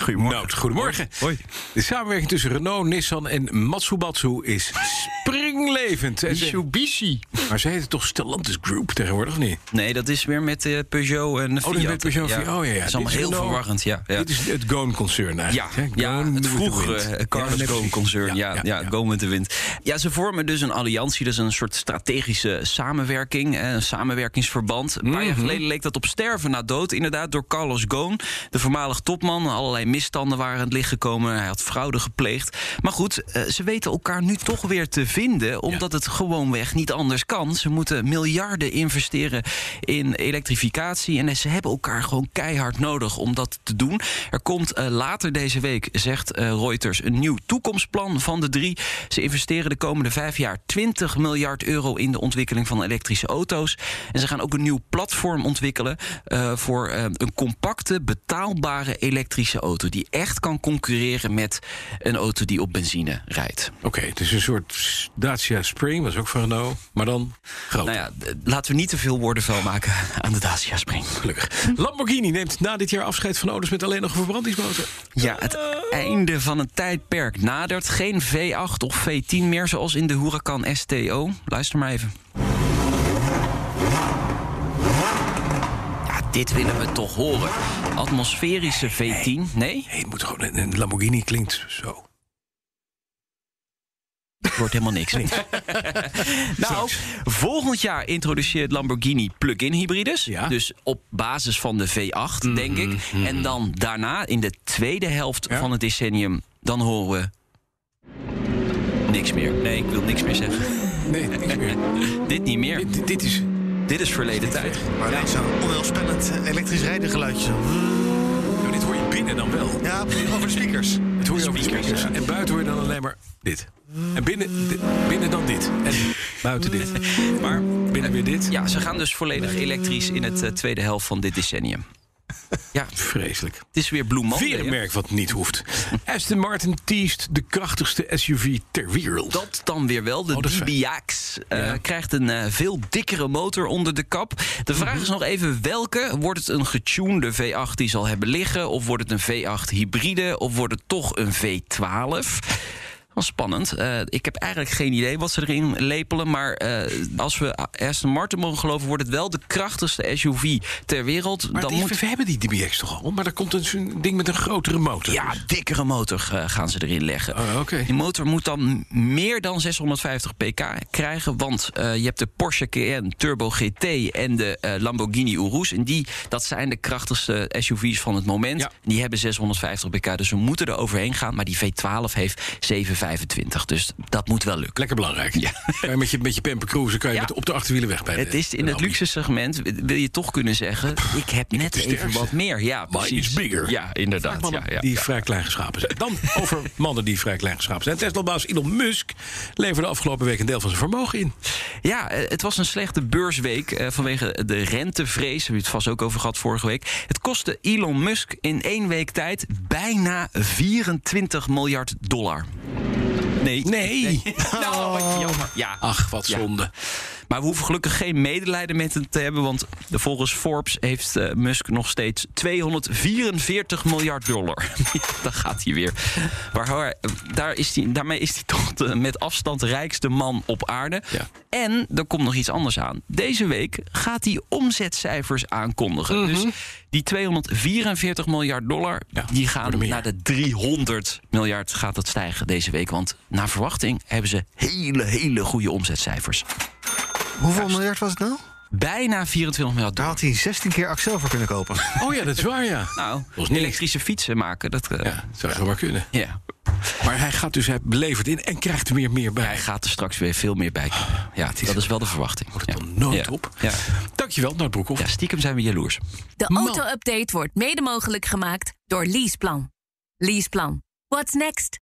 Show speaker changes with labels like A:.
A: Goedemorgen. Nout, goedemorgen.
B: Hoi.
A: De samenwerking tussen Renault, Nissan en Matsubatsu is springlevend. En ze-
B: Mitsubishi.
A: maar ze heten toch Stellantis Group tegenwoordig, of niet?
C: Nee, dat is weer met eh, Peugeot en Fiat.
A: dat is met Peugeot,
C: ja.
A: Fiat. Oh, ja, ja.
C: Dat is
A: Dit
C: allemaal
A: is
C: heel
A: Renault.
C: verwarrend, ja. ja.
A: Dit is het Goon-concern
C: Ja,
A: eigenlijk. hè?
C: ja,
A: Goon
C: het
A: with the
C: vroegere
A: wind.
C: eh, Carlos
A: Ja, nee,
C: Ghosn
A: precies.
C: concern. Ja, ja,
A: ja.
C: Go with the Wind. Ja, ze vormen dus een alliantie, dus een soort strategische samenwerking, eh, een samenwerkingsverband. Een
A: Mhm.
C: paar jaar geleden leek dat op sterven na dood, inderdaad, door Carlos Ghosn, de voormalig topman. Allerlei misstanden waren aan het licht gekomen, hij had fraude gepleegd. Maar goed, eh, ze weten elkaar nu toch weer te vinden, omdat het gewoonweg niet anders kan. Ze moeten miljarden investeren in elektrificatie en ze hebben elkaar gewoon keihard nodig om dat te doen. Er komt eh, later deze week, zegt eh, Reuters, een nieuw toekomstplan van de drie. Ze investeren de komende vijf jaar 20 miljard euro in de ontwikkeling van elektrische auto's. En ze gaan ook een nieuw platform ontwikkelen eh, voor eh, een compacte, betaalbare elektrische auto. Die echt kan concurreren met een auto die op benzine rijdt.
A: Oké, het is een soort Dacia Spring, was ook van Renault, maar dan groot.
C: Nou ja, d- laten we niet te veel woorden vuil maken aan de Dacia Spring.
A: Gelukkig. Lamborghini neemt na dit jaar afscheid van auto's met alleen nog een verbrandingsmotor.
C: Ja, het einde van een tijdperk nadert. Geen V8 of V10 meer, zoals in de Huracan STO. Luister maar even. Ja, dit willen we toch horen. Atmosferische V10, nee?
A: Nee, het moet gewoon. een- Een Lamborghini klinkt zo.
C: Het wordt helemaal niks. nou,
A: Straks.
C: volgend jaar introduceert Lamborghini plug-in hybrides.
A: Ja. Mhm,
C: Dus op basis van de V8, denk ik. En dan daarna, in de tweede helft
A: Ja.
C: van het decennium, dan horen we... Niks meer. Nee, ik wil niks meer zeggen.
A: Nee, niks meer.
C: Dit niet meer. Dit,
A: Dit, dit is. Nou,
C: is verleden tijd.
B: Maar alleen zo'n onheilspellend eh, elektrisch rijden geluidje. zo.
A: Nou, dit hoor je binnen dan wel.
B: Ja, over de speakers.
A: Het hoor je over de speakers. En buiten hoor je dan alleen maar dit. En binnen, di- binnen dan dit. En buiten dit.
C: Maar
A: Binnen weer dit.
C: ja, ze gaan dus volledig elektrisch in het eh, tweede helft van dit decennium. Ja,
A: Vreselijk.
C: het is weer Blue Monday,
A: Weer een
C: hè?
A: merk wat niet hoeft. Aston Martin teest de krachtigste SUV ter wereld.
C: Dat dan weer wel. De
A: Oh, dat is fijn.
C: DBX eh,
A: Ja.
C: krijgt een eh, veel dikkere motor onder de kap. De
A: Mhm.
C: vraag is nog even welke. Wordt het een getunede V8 die ze al hebben liggen? Of wordt het een V8 hybride? Of wordt het toch een V12? Wel spannend. Eh, ik heb eigenlijk geen idee wat ze erin lepelen. Maar eh, als we Aston Martin mogen geloven, wordt het wel de krachtigste SUV ter wereld.
A: maar
C: dan
A: die-
C: moet...
A: we hebben die DBX toch al? Maar er komt dus een zo'n ding met een grotere motor. Dus
C: Ja, dikkere motor eh, gaan ze erin leggen.
A: Oh, oké.
C: Die motor moet dan meer dan 650 pk krijgen. Want eh, je hebt de Porsche Cayenne Turbo GT en de eh, Lamborghini Urus. En die, dat zijn de krachtigste SUV's van het moment.
A: Ja.
C: Die hebben 650 pk, dus we moeten er overheen gaan. Maar die V12 heeft 725, dus dat moet wel lukken.
A: Lekker belangrijk. Kan je met je, met je camper cruisen kan je
C: Ja.
A: met, op de achterwielen weg bij de-
C: Het is in
A: de
C: het
A: Lamborghini.
C: luxe segment, wil je toch kunnen zeggen... ik heb net even
A: sterkste.
C: wat meer. Ja,
A: Mine is
C: precies.
A: bigger.
C: Ja, inderdaad. Ja,
A: mannen
C: ja,
A: die
C: ja.
A: vrij klein geschapen zijn. Dan over mannen die vrij klein geschapen zijn. Tesla-baas Elon Musk leverde afgelopen week een deel van zijn vermogen in.
C: Ja, eh, het was een slechte beursweek eh, vanwege de rentevrees. Daar hebben we het vast ook over gehad vorige week. Het kostte Elon Musk in één week tijd bijna 24 miljard dollar. Nee.
A: Nee.
C: Nou, wat jammer. Ja.
A: Oh. Ach, wat
C: Ja.
A: zonde.
C: Maar we hoeven gelukkig geen medelijden met hem te hebben. Want volgens Forbes heeft eh, Musk nog steeds 244 miljard dollar. Ja, Daar gaat hij weer. Maar hoor, daar is hij, daarmee is hij toch de met afstand rijkste man op aarde.
A: Ja.
C: En er komt nog iets anders aan. Deze week gaat hij omzetcijfers aankondigen. Dus die 244 miljard dollar,
A: Mhm. Ja,
C: die
A: worden
C: gaan
A: meer.
C: naar de 300 miljard gaat dat stijgen deze week. Want naar verwachting hebben ze hele, hele goede omzetcijfers.
B: Hoeveel miljard was het nou?
C: Bijna 24 miljard
B: Daar
C: dollar.
B: had hij 16 keer Axel voor kunnen kopen.
A: Oh ja, dat is waar, ja.
C: Nou,
A: was niet.
C: elektrische fietsen maken. Dat, eh,
A: Ja, zou zo maar kunnen.
C: ja.
A: Maar hij gaat dus, hij levert in en krijgt er weer meer bij.
C: Hij gaat er straks weer veel meer bij. komen. Ja,
A: het is-
C: Ah, dat is wel de verwachting.
A: Wordt het
C: Ja.
A: dan nooit
C: Ja.
A: op?
C: Ja.
A: Dankjewel, Nout Broekhoff.
C: ja, stiekem zijn we jaloers.
D: De auto-update wordt mede mogelijk gemaakt door Leaseplan. Leaseplan. What's next?